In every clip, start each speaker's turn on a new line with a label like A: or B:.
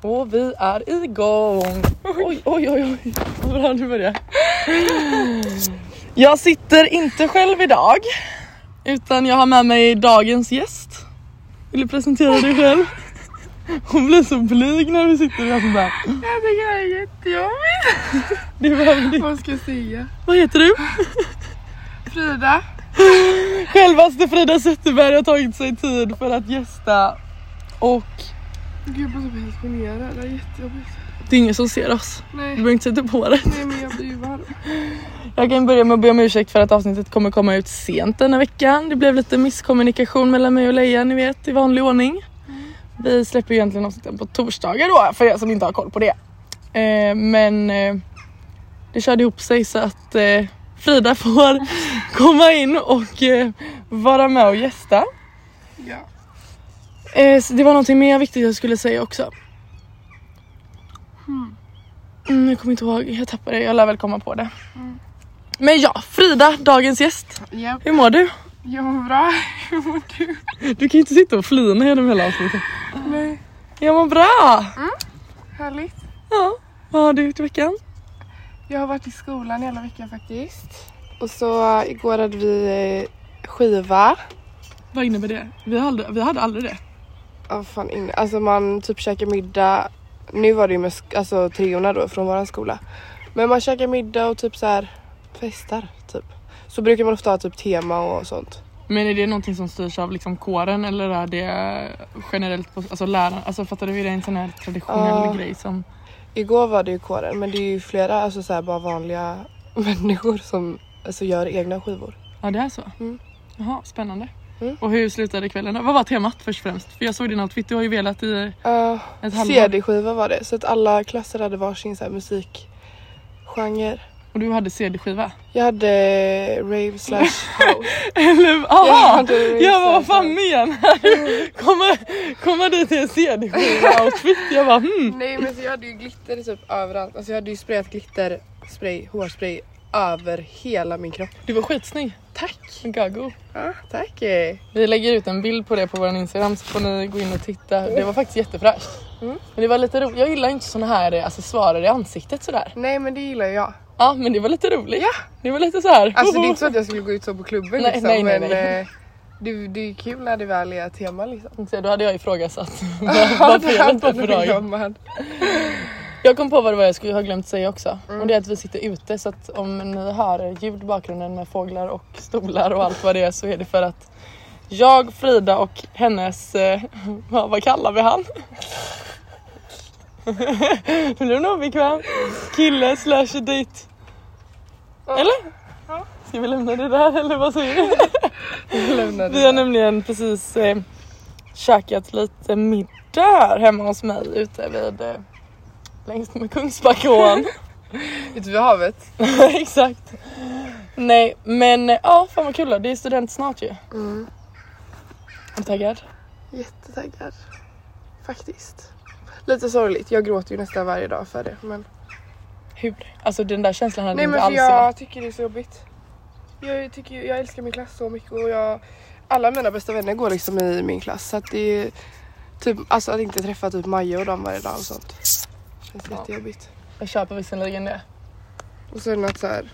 A: Och vi är igång! Oj, oj, oj, oj. Vad bra, nu börjar Jag sitter inte själv idag, utan jag har med mig dagens gäst. Vill du presentera dig själv? Hon blir så blyg när vi sitter där. så bara,
B: Jag tycker det är jättejobbigt.
A: Det behöver vi.
B: Vad ska jag säga?
A: Vad heter du?
B: Frida.
A: Självaste Frida Zetterberg har tagit sig tid för att gästa och
B: Gud jag blir helt generad. Det är jättejobbigt.
A: det är ingen som ser oss. Du
B: Nej.
A: behöver inte sätta på det.
B: Nej men jag blir ju varm.
A: Jag kan börja med att be om ursäkt för att avsnittet kommer komma ut sent denna veckan. Det blev lite misskommunikation mellan mig och Leia, ni vet, i vanlig ordning. Vi släpper ju egentligen avsnitten på torsdagar då, för er som inte har koll på det. Eh, men eh, det körde ihop sig så att eh, Frida får komma in och eh, vara med och gästa.
B: Ja.
A: Eh, så det var någonting mer viktigt jag skulle säga också.
B: Hmm.
A: Mm, jag kommer inte ihåg, jag tappade det. Jag lär väl komma på det.
B: Mm.
A: Men ja, Frida, dagens gäst.
B: Japp.
A: Hur mår du?
B: Jag mår bra. Hur mår du?
A: Du kan ju inte sitta och flina genom hela avsnittet.
B: Nej. Mm.
A: Jag mår bra!
B: Härligt.
A: Ja, vad har du gjort i veckan?
B: Jag har varit i skolan hela veckan faktiskt. Och så eh, igår hade vi eh, skiva.
A: Vad innebär det? Vi hade, vi hade aldrig det.
B: Oh, fan, in- alltså man typ käkar middag. Nu var det ju med sk- alltså, treorna då från våran skola. Men man käkar middag och typ så här festar typ. Så brukar man ofta ha typ tema och sånt.
A: Men är det någonting som styrs av liksom kåren eller är det generellt på alltså läraren? Alltså fattar du, är det en sån här traditionell
B: Ja.
A: grej som...
B: Igår var det ju kåren men det är ju flera alltså så här, bara vanliga människor som alltså, gör egna skivor.
A: Ja, det är så?
B: Mm.
A: Jaha, spännande.
B: Mm.
A: Och hur slutade kvällen då? Vad var temat först och främst? För jag såg din outfit, du har ju velat i
B: Eh,
A: ett halvår.
B: CD-skiva var det så att alla klasser hade varsin så här, musikgenre.
A: Och du hade CD-skiva.
B: Jag hade rave slash house.
A: Eller aha!
B: hade rave
A: Jag bara vad
B: slash
A: fan
B: house.
A: menar du? Komma, komma dit i en CD-skiva-outfit. Jag bara hmm.
B: Nej men så jag hade ju glitter typ överallt. Alltså jag hade ju sprayat glitter, spray, hårspray över hela min kropp.
A: Du var skitsnygg. Tack! Gago.
B: Ja, tack! eh.
A: Vi lägger ut en bild på det på vår Instagram så får ni gå in och titta. Det var faktiskt jättefräscht.
B: Mm.
A: Men det var lite roligt. Jag gillar inte såna här eh, accessoarer i ansiktet sådär.
B: Nej men det gillar jag.
A: Ja men det var lite roligt.
B: Ja.
A: Det var lite så här.
B: Alltså det är inte så att jag skulle gå ut så på klubben
A: Nej,
B: liksom
A: nej, nej,
B: men
A: nej.
B: eh, det, det är ju kul när det väl är tema liksom.
A: Så Då hade jag ifrågasatt vad- vad felet var på dagen.
B: dagen.
A: Jag kom på vad det var jag skulle ha glömt säga också.
B: Mm.
A: Och det är att vi sitter ute så att om ni hör ljud i bakgrunden med fåglar och stolar och allt vad det är så är det för att jag, Frida och hennes, eh, vad vad kallar vi han? Nu blev nog obekväm. Kille slash dejt. Eller?
B: Ja.
A: Ska vi lämna det där eller vad säger du? Vi har
B: är
A: nämligen precis eh, käkat lite middag här hemma hos mig ute vid eh, längst med Kungsbackaån.
B: Ute vid havet.
A: Exakt. Nej men eh, ja, fan vad kul då. Det är student snart ju. Är
B: Mm.
A: du taggad?
B: Jättetaggad. Faktiskt. Lite sorgligt, jag gråter ju nästan varje dag för det. Men...
A: Hur? Alltså den där känslan hade
B: Nej
A: inte
B: men för
A: alls jag.
B: jag tycker det är så jobbigt. Jag, tycker, ju- jag älskar min klass så mycket och jag, alla mina bästa vänner går liksom i min klass. Så att det är typ, alltså att inte träffa typ Maja och dem varje dag och sånt. känns
A: Ja.
B: jättejobbigt.
A: Jag köper visserligen det.
B: Och sen att så här,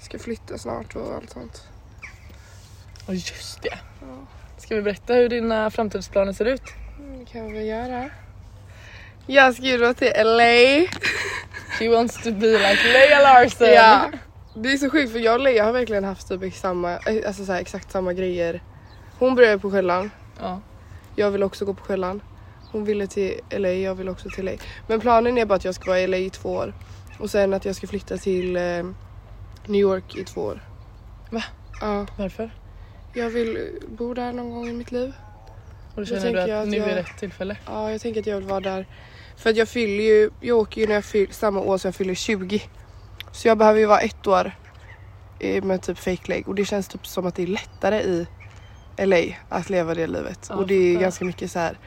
B: ska flytta snart och allt sånt.
A: Och just det. Ska vi berätta hur dina framtidsplaner ser ut?
B: Mm, Det kan vi göra. Jag ska ju då till LA.
A: She wants to be like Leia Larsen.
B: Ja. Det är så sjukt för jag och Leia har verkligen haft typ ex- samma, eh, alltså så här, exakt samma grejer. Hon började på Skällan,
A: ja.
B: jag vill också gå på Skällan. Hon ville till LA, jag vill också till LA. Men planen är bara att jag ska vara i LA i två år och sen att jag ska flytta till eh, New York i två år.
A: Va?
B: Ja,
A: Varför?
B: jag vill bo där någon gång i mitt liv.
A: Och då känner
B: tänker
A: du
B: jag
A: att
B: att
A: nu är
B: jag-
A: rätt tillfälle?
B: Ja, jag tänker att jag vill vara där. För att jag fyller ju, jag åker ju när jag fyller, samma år som jag fyller 20. Så jag behöver ju vara ett år eh, med typ fake leg och det känns typ som att det är lättare i LA att leva det livet.
A: Ja,
B: och det är
A: fattar.
B: ganska mycket så här.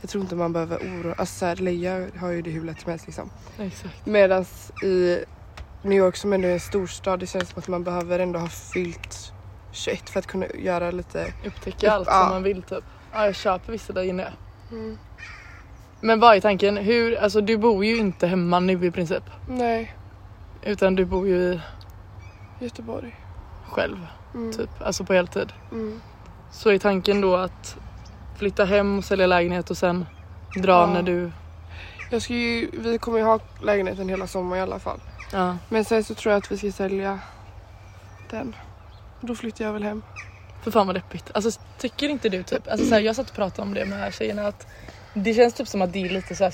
B: jag tror inte man behöver oroa alltså så här, Leia har ju det hur lätt som helst liksom.
A: Exakt.
B: Medan i New York som ändå är en storstad, det känns som att man behöver ändå ha fyllt 21 för att kunna göra lite
A: Upptäcka allt
B: Ja. Mm.
A: som man vill typ. Ja, jag köper vissa där inne. Men vad är tanken? Hur, alltså du bor ju inte hemma nu i princip.
B: Nej,
A: Utan du bor ju i
B: Göteborg.
A: själv,
B: Mm.
A: typ. Alltså på heltid.
B: Mm.
A: Så är tanken då att flytta hem och sälja lägenhet och sen dra
B: Ja.
A: när du...
B: Jag ska ju, vi kommer ju ha lägenheten hela sommaren i alla fall.
A: Ja.
B: Men sen så tror jag att vi ska sälja den. Och Då flyttar jag väl hem.
A: För fan vad deppigt. Alltså tycker inte du typ, alltså så här, jag satt och pratade om det med här tjejerna att det känns typ som att det är lite så här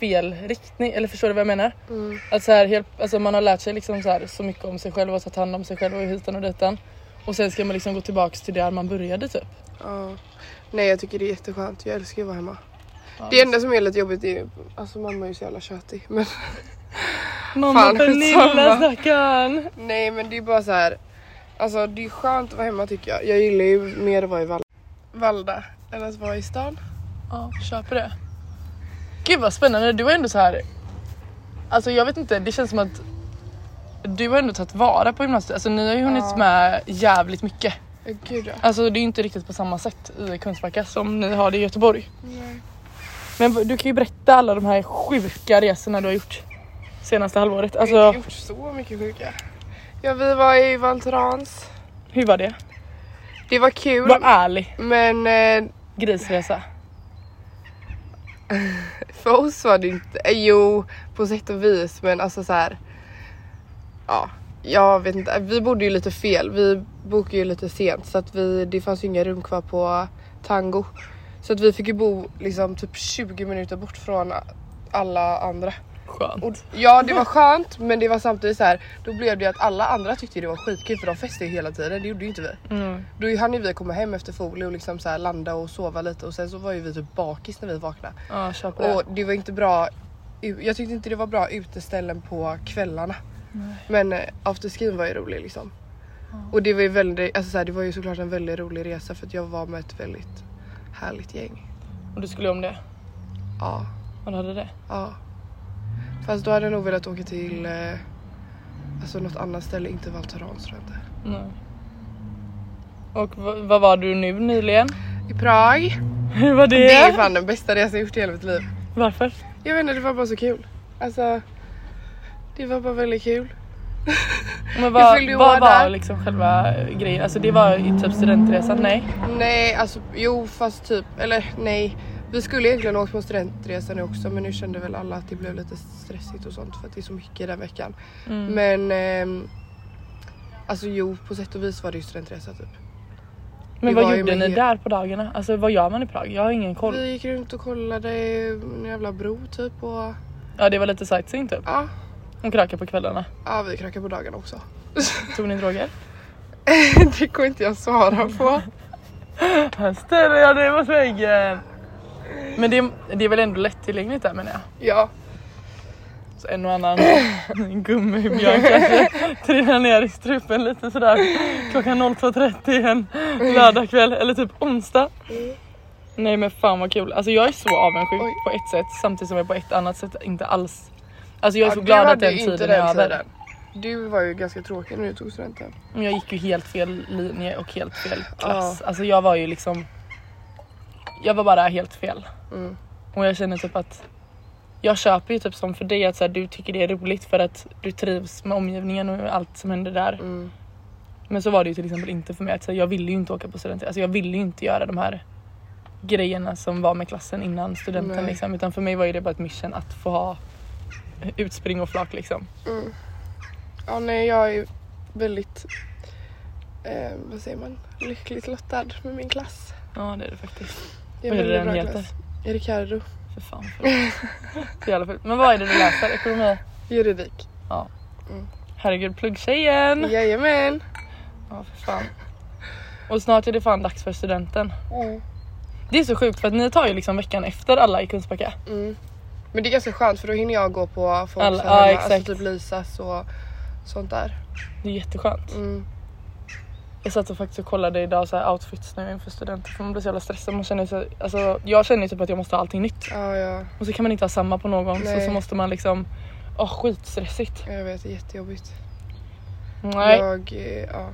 A: fel riktning, eller förstår du vad jag menar?
B: Mm.
A: Att så här, helt, alltså man har lärt sig liksom så, här, så mycket om sig själv och tagit hand om sig själv och hitan och ditan. Och sen ska man liksom gå tillbaks till där man började typ.
B: Ja. Nej jag tycker det är jätteskönt. Jag älskar ju att vara hemma.
A: Ja,
B: Det enda som är lite jobbigt är ju, alltså mamma är ju så jävla tjötig. Men
A: Mamma
B: Fan,
A: Pernilla
B: skitsamma.
A: stackarn!
B: nej men det är bara så här. Alltså det är skönt att vara hemma tycker jag. Jag gillar ju mer att vara i Valda. Valda. Än att vara i stan.
A: Ja, köper det. Gud vad spännande, du är ändå så här. Alltså jag vet inte, det känns som att du har ändå tagit vara på gymnasiet. Alltså ni har ju hunnit
B: Ja.
A: med jävligt mycket.
B: Eh, Gud ja.
A: Alltså det är ju inte riktigt på samma sätt i Kungsbacka som ni har det i Göteborg.
B: Nej.
A: Men v- du kan ju berätta alla de här sjuka resorna du har gjort senaste halvåret.
B: Jag har
A: Alltså
B: inte gjort så mycket sjuka. Ja vi var i Val Thorens.
A: hur var det?
B: Det var kul.
A: Var ärlig.
B: Men eh,
A: Grisresa.
B: För oss var det inte, eh, jo på sätt och vis men alltså så här. Ja, jag vet inte. Vi bodde ju lite fel. Vi bokade ju lite sent så att vi, det fanns ju inga rum kvar på Tango. Så att vi fick ju bo liksom typ 20 minuter bort från alla andra.
A: Skönt.
B: Och, ja det var skönt men det var samtidigt så här. då blev det att alla andra tyckte det var skitkul för de festade ju hela tiden. Det gjorde ju inte vi.
A: Mm.
B: Då hann ju vi komma hem efter folie och liksom så här landa och sova lite och sen så var ju vi typ bakis när vi vaknade.
A: Ja, köper det.
B: Och det var inte bra. Jag tyckte inte det var bra uteställen på kvällarna. Men eh, afterskin var ju rolig liksom. Och det var ju väldigt, alltså så här, det var ju såklart en väldigt rolig resa för att jag var med ett väldigt härligt gäng.
A: Och du skulle göra om det.
B: Ja,
A: Och du hade det.
B: ja. Fast då hade jag nog velat åka till eh, alltså något annat ställe, inte Valterans tror jag inte.
A: Nej. Och v- vad var du nu nyligen?
B: I Prag.
A: Hur var det?
B: Det är fan den bästa resan jag gjort i hela mitt liv.
A: Varför?
B: Jag vet inte, det var bara så kul. Alltså, det var bara väldigt kul.
A: Men
B: Jag
A: vad,
B: fyllde ju
A: vad
B: år
A: var
B: där.
A: liksom själva grejen? Alltså det var ju typ studentresan, nej?
B: Nej, alltså jo fast typ, eller nej. Vi skulle egentligen ha åkt på studentresa nu också men nu kände väl alla att det blev lite stressigt och sånt för att det är så mycket den veckan.
A: Mm.
B: Men ehm, alltså jo på sätt och vis var det ju studentresa typ.
A: Men
B: vi var
A: vad
B: ju
A: gjorde
B: med
A: ni
B: he-
A: där på dagarna? Alltså vad gör man i Prag? Jag har ingen koll.
B: Vi gick runt och kollade en jävla bro typ och
A: Ja det var lite sightseeing typ.
B: ja,
A: Hon krökar på kvällarna.
B: ja vi krökade på dagarna också.
A: Tog ni droger?
B: det går inte jag svara på.
A: Här ställer jag dig mot väggen! Men det, det är väl ändå lättillgängligt där menar jag?
B: Ja,
A: Så en och annan gummibjörn kanske trillar ner i strupen lite sådär klockan 02.30 en lördagkväll eller typ onsdag. Nej men fan vad kul. Alltså jag är så avundsjuk
B: Oj.
A: på ett sätt samtidigt som jag på ett annat sätt inte alls. Alltså jag är
B: ja
A: så
B: du
A: glad att
B: hade
A: den
B: ju inte
A: tiden är över.
B: tiden. Du var ju ganska tråkig när du tog studenten.
A: Men jag gick ju helt fel linje och helt fel klass. Alltså jag var ju liksom. Jag var bara helt fel.
B: Mm.
A: Och jag känner typ att jag köper ju typ som för dig att så här, du tycker det är roligt för att du trivs med omgivningen och allt som händer där.
B: Mm.
A: Men så var det ju till exempel inte för mig. Att, så här, jag ville ju inte åka på studenten. Alltså jag ville ju inte göra de här grejerna som var med klassen innan studenten.
B: Nej.
A: Liksom. Utan för mig var ju det bara ett mission att få ha utspring och flak liksom.
B: Ja, nej, jag är väldigt, eh, vad säger man, lyckligt lottad med min klass.
A: Ja det är det faktiskt.
B: Jag
A: Vad är det
B: väldigt
A: den heter?
B: bra klass. Ricardo,
A: För fan. För det är jävla fult. Men vad är det du läser? Ekonomi?
B: juridik.
A: Herregud pluggtjejen!
B: Jajamän!
A: Ja för fan. Och snart är det fan dags för studenten.
B: Mm.
A: Det är så sjukt för att ni tar ju liksom veckan efter alla i Kungsbacka.
B: Mm. Men det är ganska skönt för då hinner jag gå på folk
A: Alla-
B: som
A: ja,
B: hemma,
A: exakt.
B: alltså typ Lisas och sånt där.
A: Det är jätteskönt.
B: Mm.
A: Jag satt och faktiskt och kollade idag så här outfits nu inför studenten för man blir så jävla stressad. Man känner sig, alltså, jag känner ju typ att jag måste ha allting nytt
B: Ja, ja,
A: och så kan man inte ha samma på någon så,
B: Nej.
A: så måste man liksom, åh skitstressigt.
B: jag vet, det är jättejobbigt.
A: Nej.
B: Jag, eh, ja.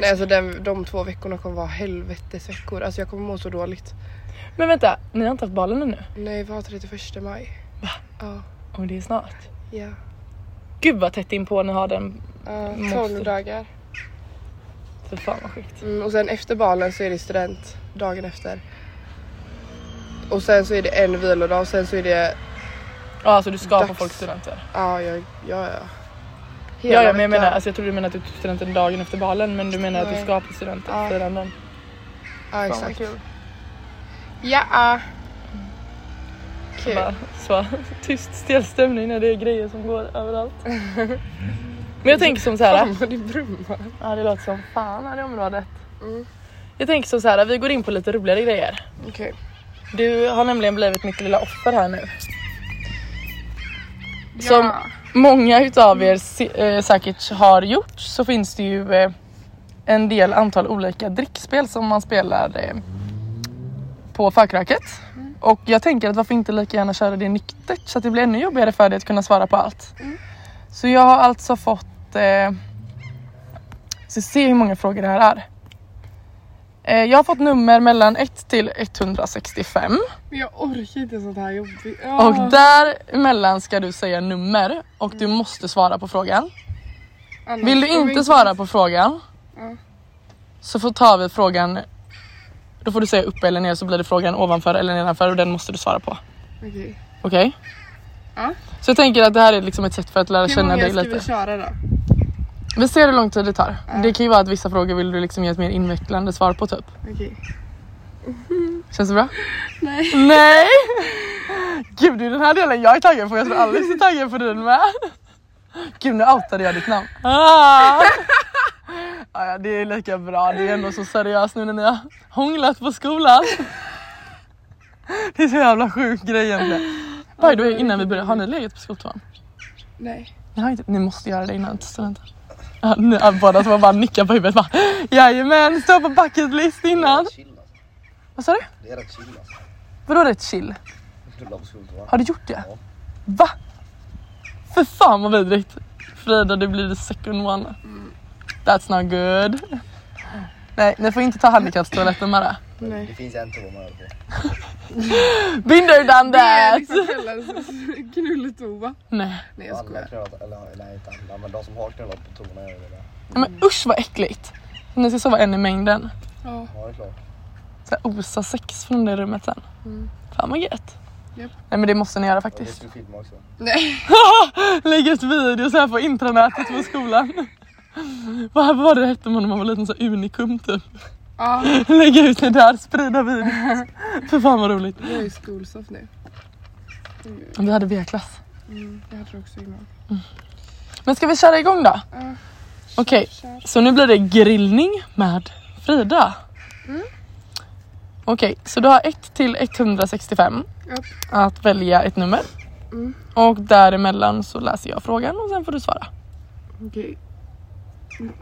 B: Nej, alltså den, de två veckorna kommer vara helvetes veckor. Alltså jag kommer må så dåligt.
A: Men vänta, ni har inte haft balen ännu?
B: Nej, vi har 31 maj.
A: Va?
B: Ja.
A: Och det är snart.
B: Ja.
A: Gud vad tätt inpå ni har den.
B: Ja,
A: Måste.
B: 12 dagar.
A: Fy fan vad sjukt.
B: Mm, och sen efter balen så är det student dagen efter. Och sen så är det en vilodag och sen så är det,
A: Ja alltså du ska på
B: Dags.
A: folkstudenter.
B: ja ja ja. ja.
A: Ja, ja men jag
B: veckan.
A: menar, alltså jag trodde du menade att du tog studenten dagen efter balen men du menar att du
B: Nej.
A: ska på studenten
B: Ja.
A: firanden.
B: Ja
A: vad
B: exakt.
A: kul.
B: Ja. ja. Kul.
A: Bara Så tyst stel stämning när det är grejer som går överallt. men jag tänker som så här.
B: Fan vad det brummar.
A: Ja det låter som fan här i området.
B: Mm.
A: Jag tänker som så här, vi går in på lite roligare grejer.
B: Okej.
A: Du har nämligen blivit mitt lilla offer här nu. Som många utav er se- eh, säkert har gjort så finns det ju eh, en del antal olika drickspel som man spelar eh, på förkröket. Och jag tänker att varför inte lika gärna köra det nyktert så att det blir ännu jobbigare för dig att kunna svara på allt. Så jag har alltså fått... Eh, så se hur många frågor det här är. Eh, jag har fått nummer mellan 1 till 165.
B: Men jag orkar inte sånt här jobbigt.
A: Och däremellan ska du säga nummer och du måste svara på frågan. Vill du inte svara på frågan
B: Ja.
A: så får tar vi frågan då får du säga upp eller ner så blir det frågan ovanför eller nedanför och den måste du svara på.
B: Okej.
A: Okej?
B: Ja.
A: Så jag tänker att det här är liksom ett sätt för att lära
B: Hur
A: känna
B: många
A: dig
B: ska
A: lite.
B: vi köra då?
A: Vi ser hur lång tid det tar.
B: Ja.
A: Det kan ju vara att vissa frågor vill du liksom ge ett mer invecklande svar på typ.
B: Okej.
A: Känns det bra?
B: Nej.
A: Nej! Gud det är den här delen jag är taggad på, jag tror Alice är taggad på den med. Gud nu outade jag ditt namn. Ah. Ah, ja, det är lika bra, det är ändå så seriöst nu när ni har hånglat på skolan. Det är så jävla sjuk grej egentligen. By the way, innan vi börjar, har ni legat på skoltoan?
B: Nej.
A: Ni, har inte, ni måste göra det innan studenten. Ja, ni, ja, båda två bara nickar på huvudet bara Jajamän, stå på bucket list innan.
C: chill alltså.
A: Vad sa du?
C: Det är rätt chill alltså.
A: Vadå rätt chill?
C: Knulla på skoltoa.
A: Har du gjort det?
C: Ja.
A: Va? För fan vad vidrigt. Frida du blir the second one. That's not good. Nej, ni får inte ta handikappstoaletten med det.
B: Nej.
C: Det finns en toa man över på.
A: Binder done
B: Det är
A: that!
B: liksom kallades knulletoa.
A: Nej.
B: Nej
C: Och
B: jag
C: Alla
B: skojar.
C: har knullat, eller nej inte alla, men de som har knullat på toorna gör det där.
A: Men usch vad äckligt. Ni ska sova en i mängden.
B: Ja.
C: Ja det är klart.
A: Så här, osa sex från det rummet sen.
B: Mm.
A: Fan vad gött.
B: Japp.
A: Nej men det måste ni göra
C: Och det
A: faktiskt.
C: ska vi filma också.
B: Nej.
A: Lägger ut videos här på intranätet på skolan. Vad var det hette man när man var liten? Så här, unikum typ.
B: Ja.
A: Lägga ut det där, sprida videos. För fan vad roligt.
B: Jag är skolsoff nu.
A: Vi hade B-klass.
B: Mm, jag hade det också innan.
A: Men ska vi köra igång då?
B: Ja.
A: Okej,
B: Kör.
A: så nu blir det grillning med Frida. Mm. Okej, så du har 1 till 165
B: Japp.
A: att välja ett nummer.
B: Mm.
A: Och däremellan så läser jag frågan och sen får du svara.
B: Okej.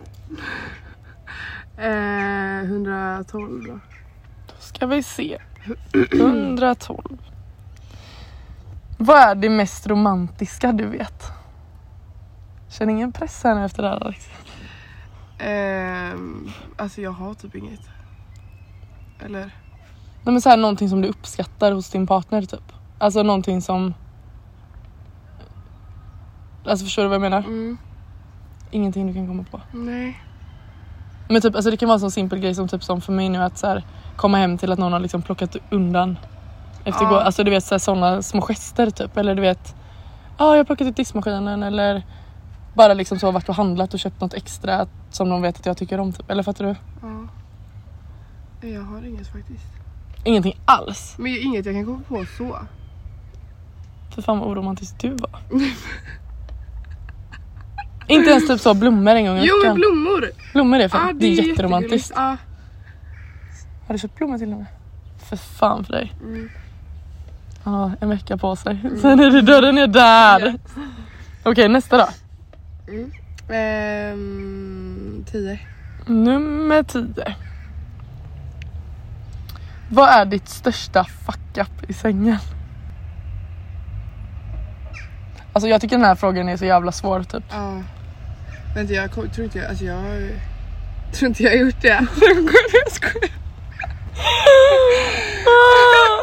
B: Eh, 112 då.
A: Då ska vi se. 112. Vad är det mest romantiska du vet? Känner ingen press här nu efter det här Alex.
B: Ehm, alltså jag har typ inget. Eller?
A: Nej men så här, någonting som du uppskattar hos din partner typ. Alltså någonting som... Alltså förstår du vad jag menar?
B: Mm,
A: Ingenting du kan komma på.
B: nej.
A: Men typ, alltså det kan vara en sån simpel grej som typ som för mig nu att så här, komma hem till att någon har liksom plockat undan. Efter
B: Ja.
A: gå, alltså du vet så här, såna små gester typ. Eller du vet, ja jag har plockat ut diskmaskinen eller bara liksom så varit och handlat och köpt något extra som de vet att jag tycker om typ. Eller fattar du?
B: Ja. Nej, Eh, Jag har inget faktiskt.
A: Ingenting alls.
B: Men inget jag kan komma på så.
A: För fan vad oromantisk du var. Inte ens typ så blommor en gång i
B: Jo men
A: veckan.
B: blommor!
A: Blommor är fan,
B: Ah,
A: det är
B: jättegulligt.
A: jätteromantiskt.
B: Ah,
A: Har du köpt blommor till henne? För fan för dig.
B: mm.
A: Han har en vecka på sig. Sen är det dörren är där.
B: Ja.
A: Okej nästa då.
B: Ehm, tio.
A: Nummer 10. Vad är ditt största fuck up i sängen? Alltså jag tycker den här frågan är så jävla svår typ.
B: Ja. Vänta jag kom, tror inte jag, alltså jag har- tror inte jag har gjort det. jag skojar.
A: Ah!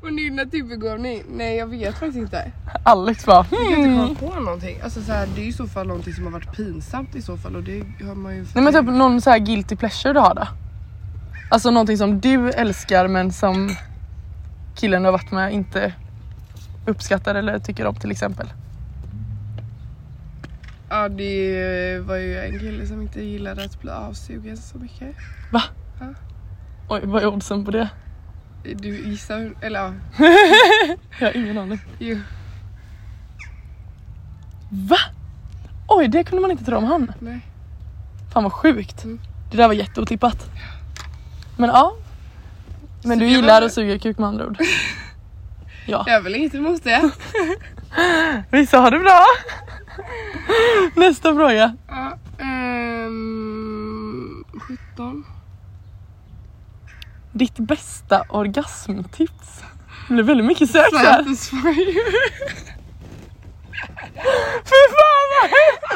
B: Och nu när typbegåvning? Nej jag vet faktiskt inte.
A: Alex bara
B: Jag kan
A: hmm.
B: inte komma på någonting. Alltså så här, det är ju i så fall någonting som har varit pinsamt i så fall och det har man ju
A: Nej men typ någon så här guilty pleasure du har då? Alltså någonting som du älskar men som killen du har varit med inte uppskattar eller tycker om till exempel.
B: Ja det var ju en kille som inte gillade att bli avsugen så mycket.
A: Oj vad är oddsen på det?
B: Du gissar hur- eller ja.
A: Jag har ingen aning.
B: Jo.
A: Va? Oj det kunde man inte tro om han.
B: Nej.
A: Fan vad sjukt.
B: Mm.
A: Det där var jätteotippat. Men ja. Men du
B: Suger
A: gillar
B: man-
A: att suga kuk med andra ord.
B: Det är väl inget emot det.
A: Vissa har det bra. Nästa fråga.
B: Ja, ehm, 17.
A: Ditt bästa orgasmtips? Det blev väldigt mycket sök här.
B: Satisfy.
A: Fy fan vad hemskt!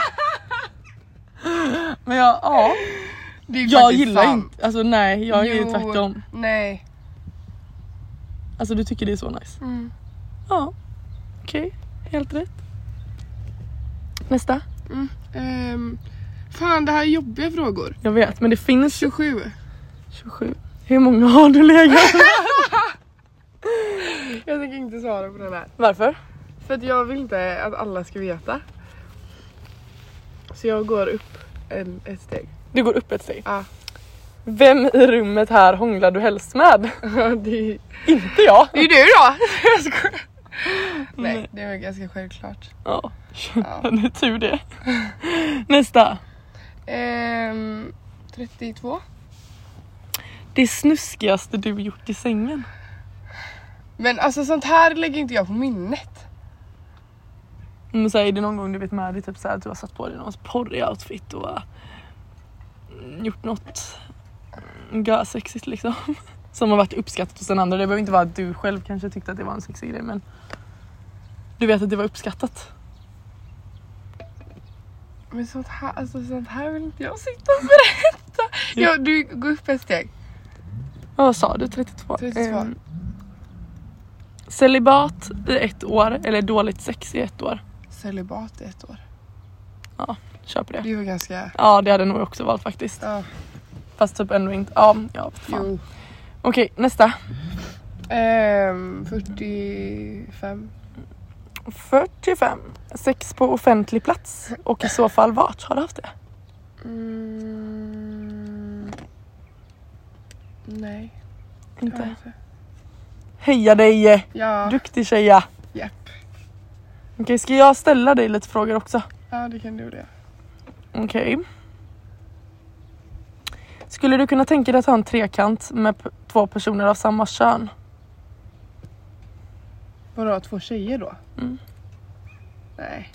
A: Men jag, ja.
B: Det är
A: Jag
B: faktiskt
A: gillar
B: sant.
A: inte, alltså nej jag är ju
B: Jo.
A: tvärtom.
B: Nej.
A: Alltså du tycker det är så nice.
B: Mm.
A: Ja. Okej, helt rätt. Nästa.
B: Ehm, fan det här är jobbiga frågor.
A: Jag vet men det finns
B: 27.
A: 27. Hur många har du legat med?
B: Jag tänker inte svara på den här.
A: Varför?
B: För att jag vill inte att alla ska veta. Så jag går upp en, ett steg.
A: Du går upp ett steg.
B: Ja.
A: Vem i rummet här hånglar du helst med?
B: det,
A: Inte jag.
B: det är du då! Mm. Jag skojar. Nej, det är väl ganska självklart.
A: Ja,
B: Ja.
A: det är tur det. Nästa.
B: Ehm, 32.
A: Det snuskigaste du gjort i sängen.
B: Men alltså sånt här lägger inte jag på minnet.
A: Men så här, är det någon gång du vet med dig typ så här, att du har satt på dig någons porrig outfit och eh, gjort något görsexigt liksom. Som har varit uppskattat hos den andra. Det behöver inte vara att du själv kanske tyckte att det var en sexig grej men du vet att det var uppskattat.
B: Men sånt här, alltså, sånt här vill inte jag sitta och berätta. Ja, du går upp ett steg.
A: Ja, Vad sa du? 32?
B: 32.
A: Ehm, celibat i ett år eller dåligt sex i ett år.
B: Celibat i ett år.
A: Kör på det.
B: Det var ganska...
A: Ja det hade jag nog också valt faktiskt.
B: Ja,
A: Fast typ ändå inte. Ja, ja fan.
B: jo.
A: Okej nästa.
B: Ehm, 45.
A: 45. Sex på offentlig plats och i så fall vart har du haft det?
B: Mm. Nej. det har jag
A: Inte.
B: inte.
A: Heja dig! eh,
B: Ja,
A: Duktig tjeja!
B: japp.
A: Okej ska jag ställa dig lite frågor också?
B: Ja, det kan du det.
A: Okej. Skulle du kunna tänka dig att ha en trekant med p- två personer av samma kön?
B: Vadå, två tjejer då?
A: Mm.
B: Nej.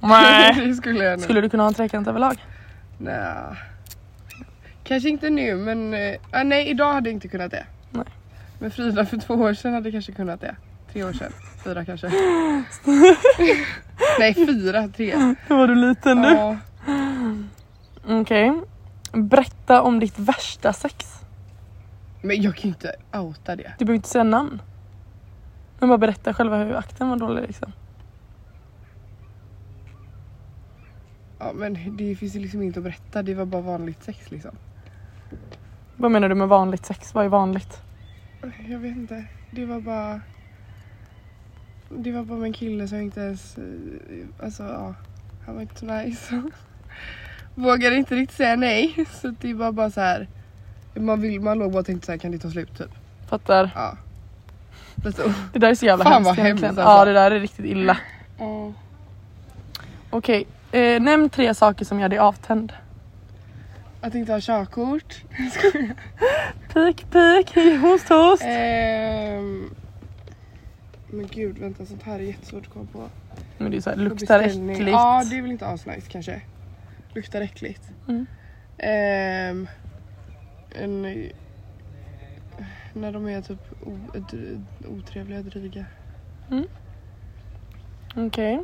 A: Nej.
B: det skulle jag nog.
A: Skulle du kunna ha en trekant överlag?
B: Nja. Kanske inte nu men... eh, ah, nej, idag hade jag inte kunnat det.
A: Nej.
B: Men Frida för två år sedan hade kanske kunnat det. Tre år sedan. Fyra kanske. nej, fyra. Tre.
A: Hur var du liten du?
B: Ja.
A: Okej. Berätta om ditt värsta sex.
B: Men jag kan ju inte outa det.
A: Du behöver inte säga namn. Men bara berätta själva hur akten var dålig liksom.
B: Ja, men det finns ju liksom inte att berätta. Det var bara vanligt sex liksom.
A: Vad menar du med vanligt sex? Vad är vanligt?
B: Jag vet inte. Det var bara... Det var bara med en kille som inte ens... eh, Alltså ja, han var inte så nice. Vågade inte riktigt säga nej. Så det var bara så här. Man, vill, man låg bara och tänkte så här, kan det ta slut typ?
A: Fattar.
B: Ja. Lite o-
A: Det där är så jävla
B: Fan,
A: hemskt
B: vad hemskt,
A: egentligen.
B: alltså.
A: Ja det där är riktigt illa. Okej, eh, nämn tre saker som gör dig avtänd.
B: Att inte ha körkort.
A: Pik pik, hej, host host.
B: Ehm, men gud, vänta sånt här är jättesvårt att komma på. På
A: Men det är såhär, luktar
B: beställning.
A: äckligt.
B: Ja, det är väl inte asnice kanske. Luktar äckligt.
A: Mm.
B: Ehm, en, när de är typ o, dr, otrevliga, dryga.
A: Okej.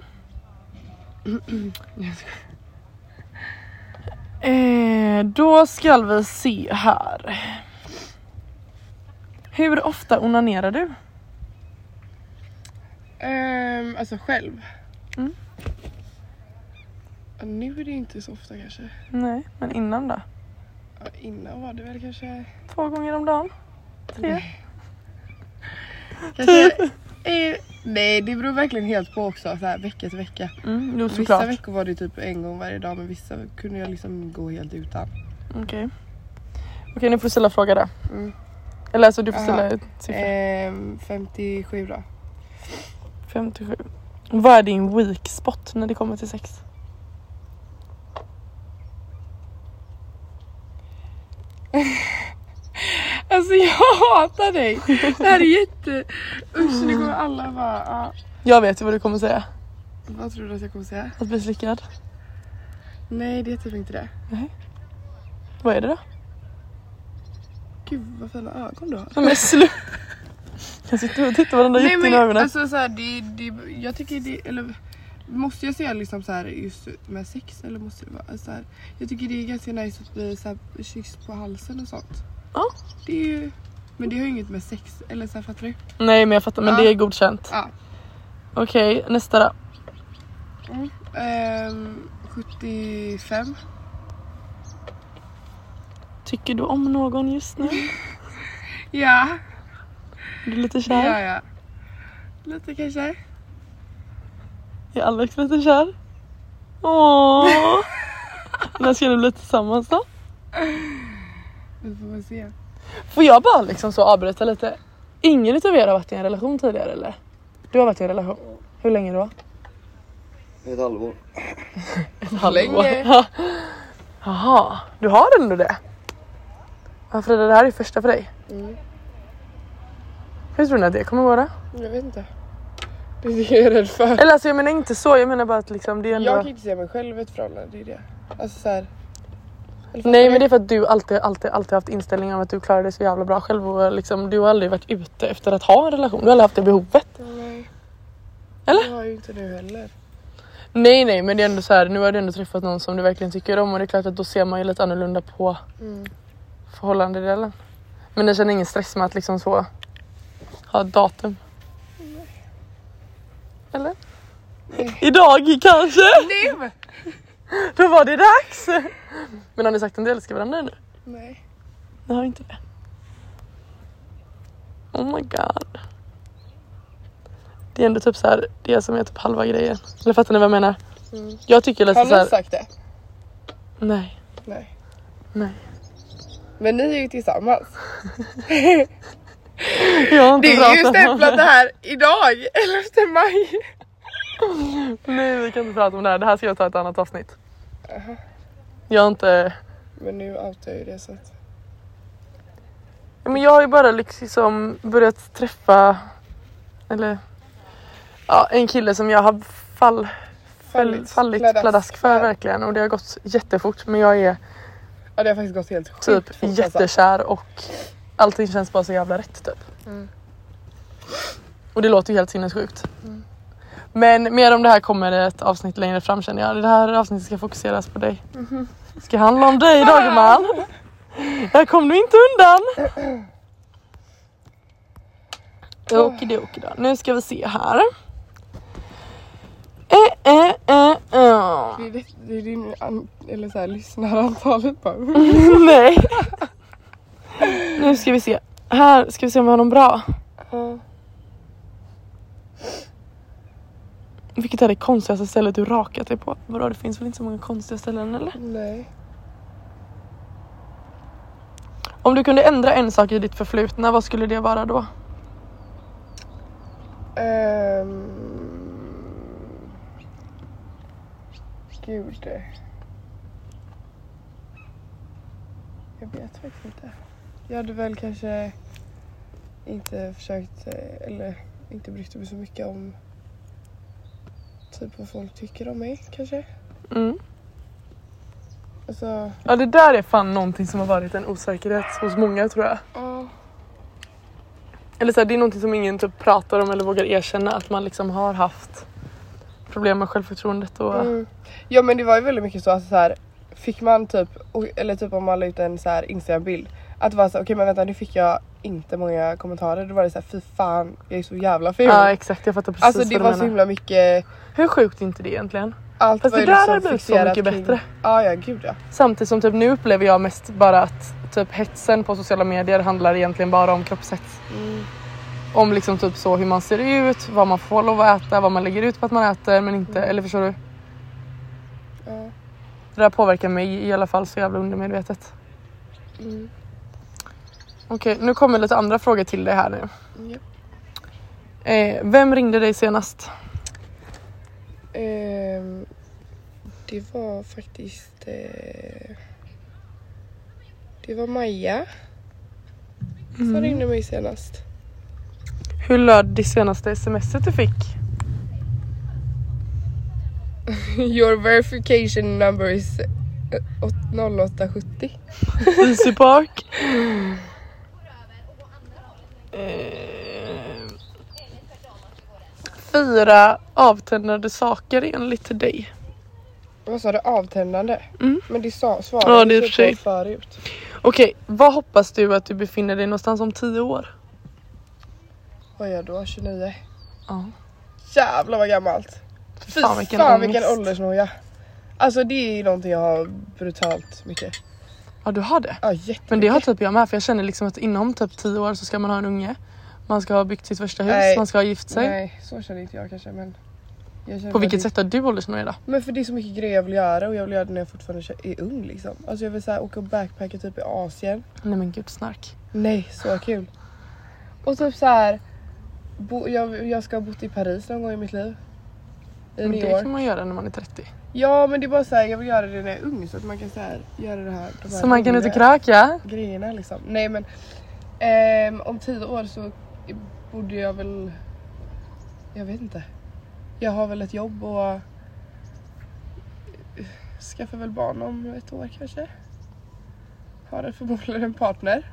A: Eh, då ska vi se här. Hur ofta onanerar du?
B: Ehm, alltså själv?
A: Mm.
B: Ja, Nu är det inte så ofta kanske.
A: Nej, men innan då?
B: Ja, innan var det väl kanske...
A: Två gånger om dagen? Tre?
B: kanske eh, nej, det beror verkligen helt på också. Så här, vecka till vecka.
A: Mm, jo
B: Vissa
A: såklart.
B: veckor var det typ en gång varje dag men vissa kunde jag liksom gå helt utan.
A: Okej. Okej nu får du ställa fråga där.
B: Mm.
A: Eller alltså du får
B: Aha.
A: ställa ett siffra.
B: Ehm, 57 då.
A: 57. Vad är din weak spot när det kommer till sex?
B: Alltså jag hatar dig! Det här är jätte... Usch nu kommer alla bara... Ah,
A: Jag vet ju vad du kommer säga.
B: vad tror du att jag kommer säga?
A: Att bli slickad.
B: Nej det är typ inte det.
A: Vad är det då?
B: Gud vad fina ögon du har.
A: Nej, Men slut. Jag sitter och tittar på den där
B: Nej
A: jätten i
B: men
A: ögonen.
B: alltså såhär det, det... Jag tycker det... Eller, måste jag säga liksom så här just med sex eller måste det vara så här, Jag tycker det är ganska nice att bli så här, kysst på halsen och sånt.
A: Ja.
B: Det är ju... Men det har ju inget med sex eller så här, fattar du?
A: Nej men jag fattar, men
B: Ja.
A: det är godkänt.
B: Ja.
A: Okej, nästa då.
B: Ehm, 75.
A: Tycker du om någon just nu?
B: Ja,
A: Är du lite
B: det
A: kär?
B: gör jag. Lite kanske.
A: Är Alex lite kär? Åh! När ska ni bli tillsammans då?
B: Vi får väl se.
A: Får jag bara liksom så avbryta lite? Ingen utav er har varit i en relation tidigare eller? Du har varit i en relation? Hur länge då?
C: Ett halvår.
A: Länge. Jaha, du har ändå det? Ja Frida, det här är första för dig.
B: Mm.
A: Hur tror ni att det kommer vara?
B: Jag vet inte. Det är det jag är rädd för.
A: Eller alltså jag menar inte så, jag menar bara att liksom det är ändå...
B: Jag kan inte se mig själv i ett förhållande, det är det. Alltså såhär...
A: Nej men det är för att du alltid, alltid, alltid haft inställningen om att du klarar dig så jävla bra själv och liksom, du har aldrig varit ute efter att ha en relation, du har aldrig haft det behovet.
B: Nej.
A: Eller?
B: Jag har ju inte nu heller.
A: Nej nej men det är ändå så här, nu har du ändå träffat någon som du verkligen tycker om och det är klart att då ser man ju lite annorlunda på
B: Mm.
A: förhållandedelen. Men ni känner ingen stress med att liksom så ha ett datum? Eller? Idag kanske?
B: Nu!
A: Då var det dags! Men har ni sagt att ni älskar varandra nu?
B: Nej.
A: Ni har inte det? Oh my god. Det är ändå typ så här, det som är typ halva grejen. Eller fattar ni vad jag menar?
B: Mm.
A: Jag tycker lite
B: Har
A: Alltså så
B: ni
A: här,
B: sagt det?
A: nej.
B: Nej.
A: Nej.
B: Men ni är ju tillsammans.
A: Jag har inte
B: Det är ju
A: pratat om
B: stämplat det här idag, 11 maj.
A: Nej vi kan inte prata om det här, det här ska jag ta ett annat avsnitt. Jag har inte...
B: Men nu outar jag ju det så att...
A: Men jag har ju bara liksom börjat träffa... Eller... Ja, en kille som jag har fall, fallit, fallit pladask, för verkligen och det har gått jättefort men jag är
B: Ja det har faktiskt gått helt sjukt
A: typ
B: fort, alltså.
A: jättekär och allting känns bara så jävla rätt typ.
B: Mm.
A: Och det låter ju helt sinnessjukt. Men mer om det här kommer i ett avsnitt längre fram känner jag. Det här avsnittet ska fokuseras på dig. Ska handla om dig Dagerman. Där kom du inte undan. Okidokid då. Nu ska vi se här. Eh, eh, eh, eh.
B: Det är, det, det är din an, eller så här, lyssnarantalet bara.
A: Nej. Nu ska vi se. Här ska vi se om vi har någon bra. Vilket är det konstigaste stället du rakat dig på? Vadå det finns väl inte så många konstiga ställen eller?
B: Nej.
A: Om du kunde ändra en sak i ditt förflutna, vad skulle det vara då?
B: Ehm. Um, gud. Jag vet faktiskt inte. Jag hade väl kanske inte försökt eh, eller inte brytt mig så mycket om typ vad folk tycker om mig kanske.
A: Mm.
B: Alltså,
A: Ja det där är fan någonting som har varit en osäkerhet hos många tror jag.
B: ja.
A: Eller så här, det är någonting som ingen typ pratar om eller vågar erkänna att man liksom har haft problem med självförtroendet och...
B: Mm. Ja men det var ju väldigt mycket så att så här, fick man typ, och- eller typ om man la ut en så här Instagram-bild. Att vara så okej men vänta nu fick jag inte många kommentarer. Då var det såhär fy fan jag är så jävla ful.
A: Ja exakt jag fattar precis
B: alltså
A: vad
B: det
A: du
B: var
A: menar.
B: så himla mycket.
A: Hur sjukt är inte det egentligen?
B: Allt
A: Fast
B: var
A: det
B: ju
A: där
B: liksom
A: har blivit så
B: fixerat
A: mycket bättre.
B: Ja ja gud ja.
A: Samtidigt som typ nu upplever jag mest bara att typ hetsen på sociala medier handlar egentligen bara om kroppshets. Om liksom typ så hur man ser ut, vad man får lov att äta, vad man lägger ut på att man äter men inte, eller förstår du?
B: Ja.
A: Det där påverkar mig i alla fall så jävla undermedvetet.
B: Mm.
A: Okej, nu kommer lite andra frågor till dig här nu.
B: Japp.
A: Eh, vem ringde dig senast?
B: Ehm, det var faktiskt... Eh, det var Maja som ringde mig senast.
A: Hur löd det senaste smset du fick?
B: Your verification number is eh, åt- 0870.
A: Easy Park. Eh, Fyra avtändande saker enligt dig.
B: Vad sa du? Avtändande?
A: Mm.
B: Men det sa, svarade
A: Ja,
B: du
A: det är
B: typ
A: för sig.
B: på förut.
A: Okej, vad hoppas du att du befinner dig någonstans om tio år?
B: Vad gör jag då? 29?
A: Ja.
B: Jävlar vad gammalt! Fy fan vilken,
A: ångest.
B: åldersnoja. Alltså det är ju någonting jag har brutalt mycket.
A: Ja, du har det.
B: Ja jättemycket.
A: Men det har typ jag med för jag känner liksom att inom typ tio år så ska man ha en unge. Man ska ha byggt sitt första hus,
B: Nej.
A: man ska ha gift sig.
B: Nej så känner inte jag kanske men. Jag känner
A: På
B: bara
A: vilket
B: det-
A: sätt har du åldersnoja då?
B: Men för det är så mycket grejer jag vill göra och jag vill göra det när jag fortfarande är ung liksom. Alltså jag vill så här, åka och backpacka typ i Asien.
A: Nej men gud snark.
B: Nej, så kul. Och typ så här. Bo, jag, jag ska ha bott i Paris någon gång i mitt liv. I
A: Men
B: New
A: det
B: York.
A: kan man göra när man är 30.
B: Ja men det är bara så här, jag vill göra det när jag är ung så att man kan så här, göra det här. De här
A: Så man kan ut
B: roliga
A: och kröka.
B: Grejerna liksom. Nej men. ehm, om tio år så borde jag väl. Jag vet inte. Jag har väl ett jobb och. eh, Skaffar väl barn om ett år kanske. Har förmodligen en partner.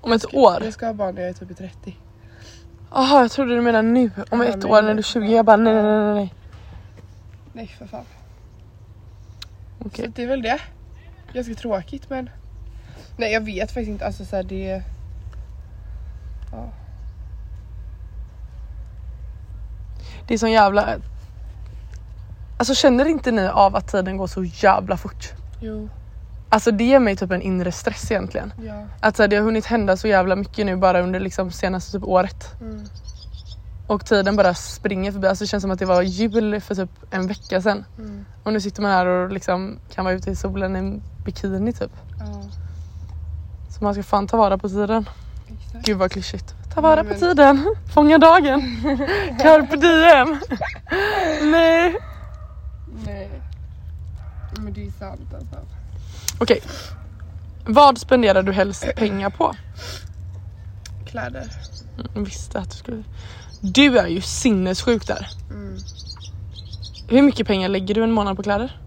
A: Om ett år.
B: Jag ska ha barn när jag är typ i 30.
A: Jaha jag trodde du menade nu, om
B: Ja,
A: ett
B: nej,
A: år
B: nej.
A: när du är 20. Jag bara nej nej nej nej, nej.
B: Nej för fan.
A: Okej.
B: Så det är väl det. Ganska tråkigt men. Nej jag vet faktiskt inte. Alltså så här, det. Ja.
A: Det är sån jävla... Alltså känner inte ni av att tiden går så jävla fort?
B: Jo.
A: Alltså det ger mig typ en inre stress egentligen.
B: Ja.
A: Att så här, det har hunnit hända så jävla mycket nu bara under liksom senaste typ året.
B: Mm.
A: Och tiden bara springer förbi. Alltså det känns som att det var jul för typ en vecka sedan.
B: Mm.
A: Och nu sitter man här och liksom kan vara ute i solen i en bikini typ.
B: Ja.
A: Så man ska fan ta vara på tiden.
B: Exakt.
A: Gud vad klyschigt. Ta vara
B: Nej,
A: på
B: men-
A: tiden. Fånga dagen. Carpe diem. Nej.
B: Nej. Men det är sant alltså.
A: Okej. Vad spenderar du helst pengar på?
B: Kläder.
A: Jag visste att du skulle... Du är ju sinnessjuk där.
B: Mm.
A: Hur mycket pengar lägger du en månad på kläder?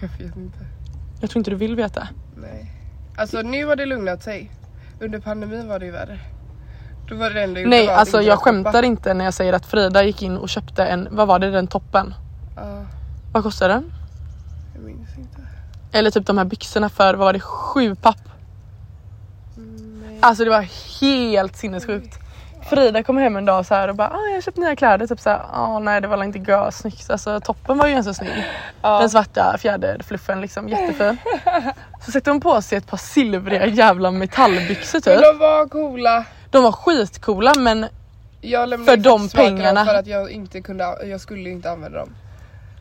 B: Jag vet inte.
A: Jag tror inte du vill veta.
B: Nej. Alltså nu har det lugnat sig. Under pandemin var det ju värre. Då var det enda gjorde
A: Nej,
B: var att
A: alltså
B: inte
A: jag
B: att shoppa.
A: skämtar inte när jag säger att Frida gick in och köpte en, vad var det, den toppen?
B: Ja,
A: Vad kostade den?
B: jag minns inte.
A: Eller typ de här byxorna för, vad var det, sju papp?
B: Mm, nej.
A: Alltså det var helt sinnessjukt. Frida kom hem en dag så här och bara ah, jag köpte nya kläder typ så här, ah, nej det var väl inte görsnyggt. Alltså toppen var ju ganska snygg.
B: Ja.
A: Den svarta fjäderfluffen liksom jättefin. Så sätter hon på sig ett par silvriga jävla metallbyxor
B: Men
A: typ.
B: de var coola.
A: De var skitcoola men
B: Jag lämnade
A: För de
B: faktiskt tillbaka dem
A: pengarna.
B: För att jag inte kunde, jag skulle inte använda dem.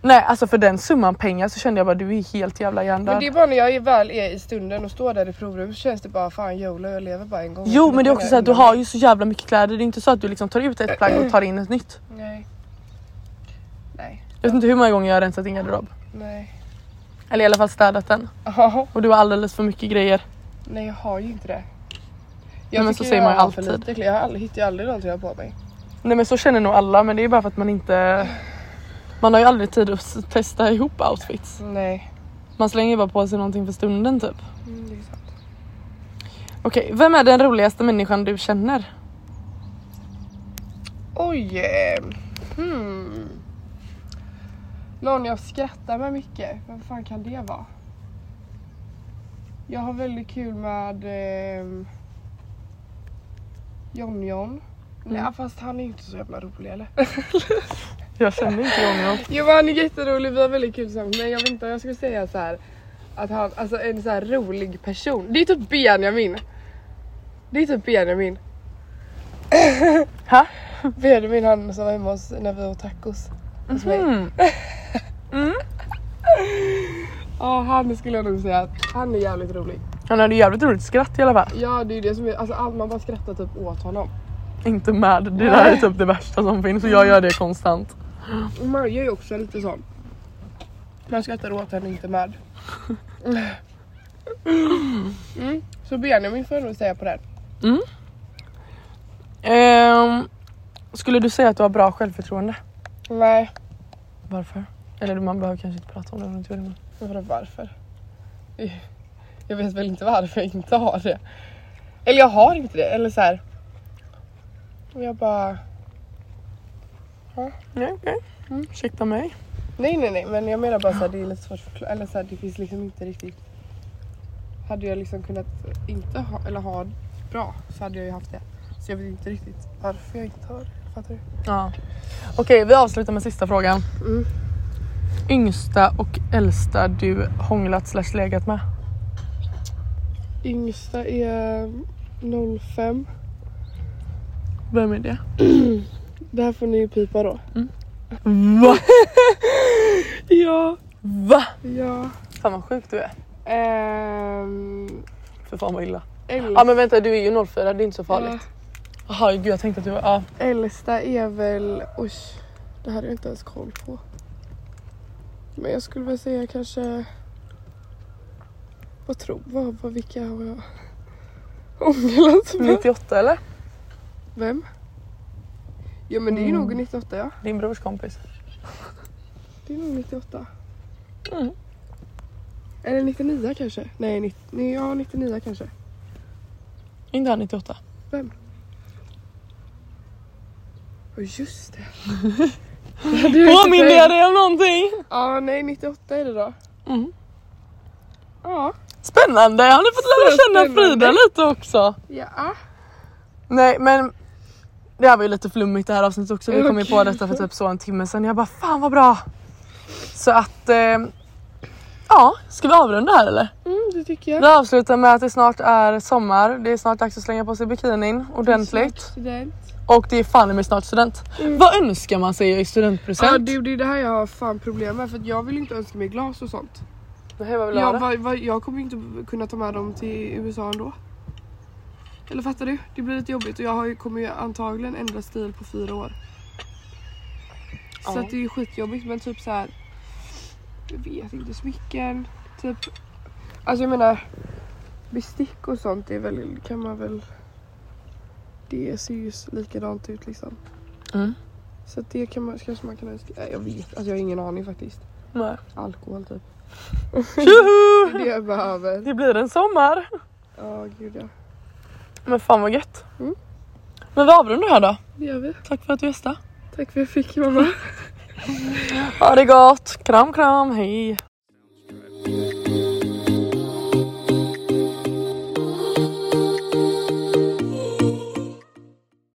A: nej alltså för den summan pengar så kände jag bara du är helt jävla
B: Men
A: hjärndöd.
B: det är bara när jag är väl är i stunden och står där i provrummet så känns det bara fan YOLO jag lever bara en gång.
A: Jo men det är också så att du
B: Innan-
A: har ju så jävla mycket kläder. Det är inte så att du liksom tar ut ett plagg och tar in ett nytt.
B: Nej. Nej.
A: Jag vet inte hur många gånger jag har rensat din garderob.
B: Nej.
A: Eller i alla fall städat den.
B: Ja.
A: Och du har alldeles för mycket grejer.
B: Nej jag har ju inte det.
A: Nej, men så
B: tycker
A: säger man ju
B: jag har för
A: alltid.
B: lite kläder. Jag har aldrig, hittar ju aldrig någonting jag har på mig.
A: Nej men så känner nog alla men det är bara för att man inte... Man har ju aldrig tid att s- testa ihop outfits.
B: Nej.
A: Man slänger ju bara på sig någonting för stunden typ.
B: Mm, det är sant.
A: Okej, vem är den roligaste människan du känner?
B: Oj. eh, Hmm. Någon jag skrattar med mycket. Vem fan kan det vara? Jag har väldigt kul med... ehm, eh, John John. Nej fast han är ju inte så jävla rolig eller?
A: Jag känner inte John John.
B: Jo men han är jätterolig, vi har väldigt kul tillsammans men jag vet inte om jag skulle säga så här att han, alltså en så här rolig person. Det är typ Benjamin. Det är typ Benjamin.
A: Ha?
B: Benjamin han som var hemma hos, när vi åt tacos. Hos mig.
A: Mm.
B: Ja han skulle jag nog säga att han är jävligt rolig.
A: Han hade jävligt roligt skratt i alla fall.
B: Ja det är ju det som är, alltså all- man bara skrattar typ åt honom.
A: Inte med. Det där är typ det värsta som finns och jag gör det konstant.
B: Och Maja är ju också lite sån. Man skrattar åt henne, inte med. Mm. Så Benjamin får jag nog säga på den.
A: Ehm, skulle du säga att du har bra självförtroende?
B: Nej,
A: Varför? Eller man behöver kanske inte prata om det om du inte vill. men-
B: vadå varför? Jag vet väl inte varför jag inte har det. Eller jag har inte det, eller så här. Jag bara,
A: Nej okej.
B: Mm.
A: Ursäkta mig.
B: nej nej nej men jag menar bara så här, det är lite svårt att förklara, eller så här, det finns liksom inte riktigt. Hade jag liksom kunnat inte ha, eller ha bra så hade jag ju haft det. Så jag vet inte riktigt varför jag inte har det, fattar du?
A: Ja. Okej vi avslutar med sista frågan.
B: Mm.
A: Yngsta och äldsta du hånglat slash legat med?
B: Yngsta är 05.
A: Vem är det?
B: Det här får ni ju pipa då.
A: Va?
B: Ja.
A: Va?
B: Ja.
A: Fan vad sjuk du är.
B: Ehm...
A: För fan vad illa.
B: äl-
A: Ja men vänta du är ju 04 det är inte så farligt. Jaha gud jag tänkte att du var... Ja.
B: Äldsta är väl... Oj, det här är jag inte ens koll på. Men jag skulle väl säga kanske... Vad tror vad, vad, Vilka har jag ångrat
A: Mm.
B: med?
A: 98 eller?
B: Vem? Ja men det är
A: Mm.
B: nog 98 ja.
A: Din brors kompis.
B: Det är nog 98.
A: Mm.
B: Eller 99 kanske? Nej, 90, nej, ja 99 kanske.
A: Inte han 98?
B: Och just det. det hade jag inte
A: Påminner
B: tänkt.
A: jag dig om någonting?
B: Ja, nej 98 är det då.
A: Mm.
B: Ja.
A: Spännande, har ni fått lära
B: Så
A: känna
B: spännande.
A: Frida lite också?
B: Ja.
A: Nej men det här var ju lite flummigt det här avsnittet också. Vi kom ju på
B: Okej.
A: detta för typ så en timme sedan. Jag bara fan vad bra. Så att eh, ja, ska vi avrunda här eller?
B: Mm, det tycker jag.
A: Vi avslutar med att det snart är sommar. Det är snart dags att slänga på sig bikinin ordentligt.
B: Student.
A: Och det är fan i mig snart student. Vad önskar man sig i studentpresent?
B: Mm. Ja, det, det är det här jag har fan problem med för att jag vill inte önska mig glas och sånt.
A: Nej, vad vill du ha
B: Jag,
A: då?
B: va, va, jag kommer ju inte kunna ta med dem till USA ändå. Eller fattar du? Det blir lite jobbigt och jag har ju, kommer ju antagligen ändra stil på fyra år. Så
A: Ja.
B: att det är ju skitjobbigt men typ så här. Jag vet inte, smycken, typ. Alltså jag menar bestick och sånt är väl, kan man väl. Det ser ju likadant ut liksom.
A: Mm.
B: Så att det kan man, kanske man kan önska. Nej, Jag vet, alltså jag har ingen aning faktiskt.
A: Nej.
B: Alkohol typ. Det
A: Tjoho!
B: är det jag behöver.
A: Det blir en sommar.
B: Ja, gud ja.
A: Men fan vad gött.
B: Mm.
A: Men vi avrundar här då.
B: Det gör vi.
A: Tack för att du gästade.
B: Tack för att jag fick mamma.
A: Ha det gott. Kram kram. Hej.
C: Yeah.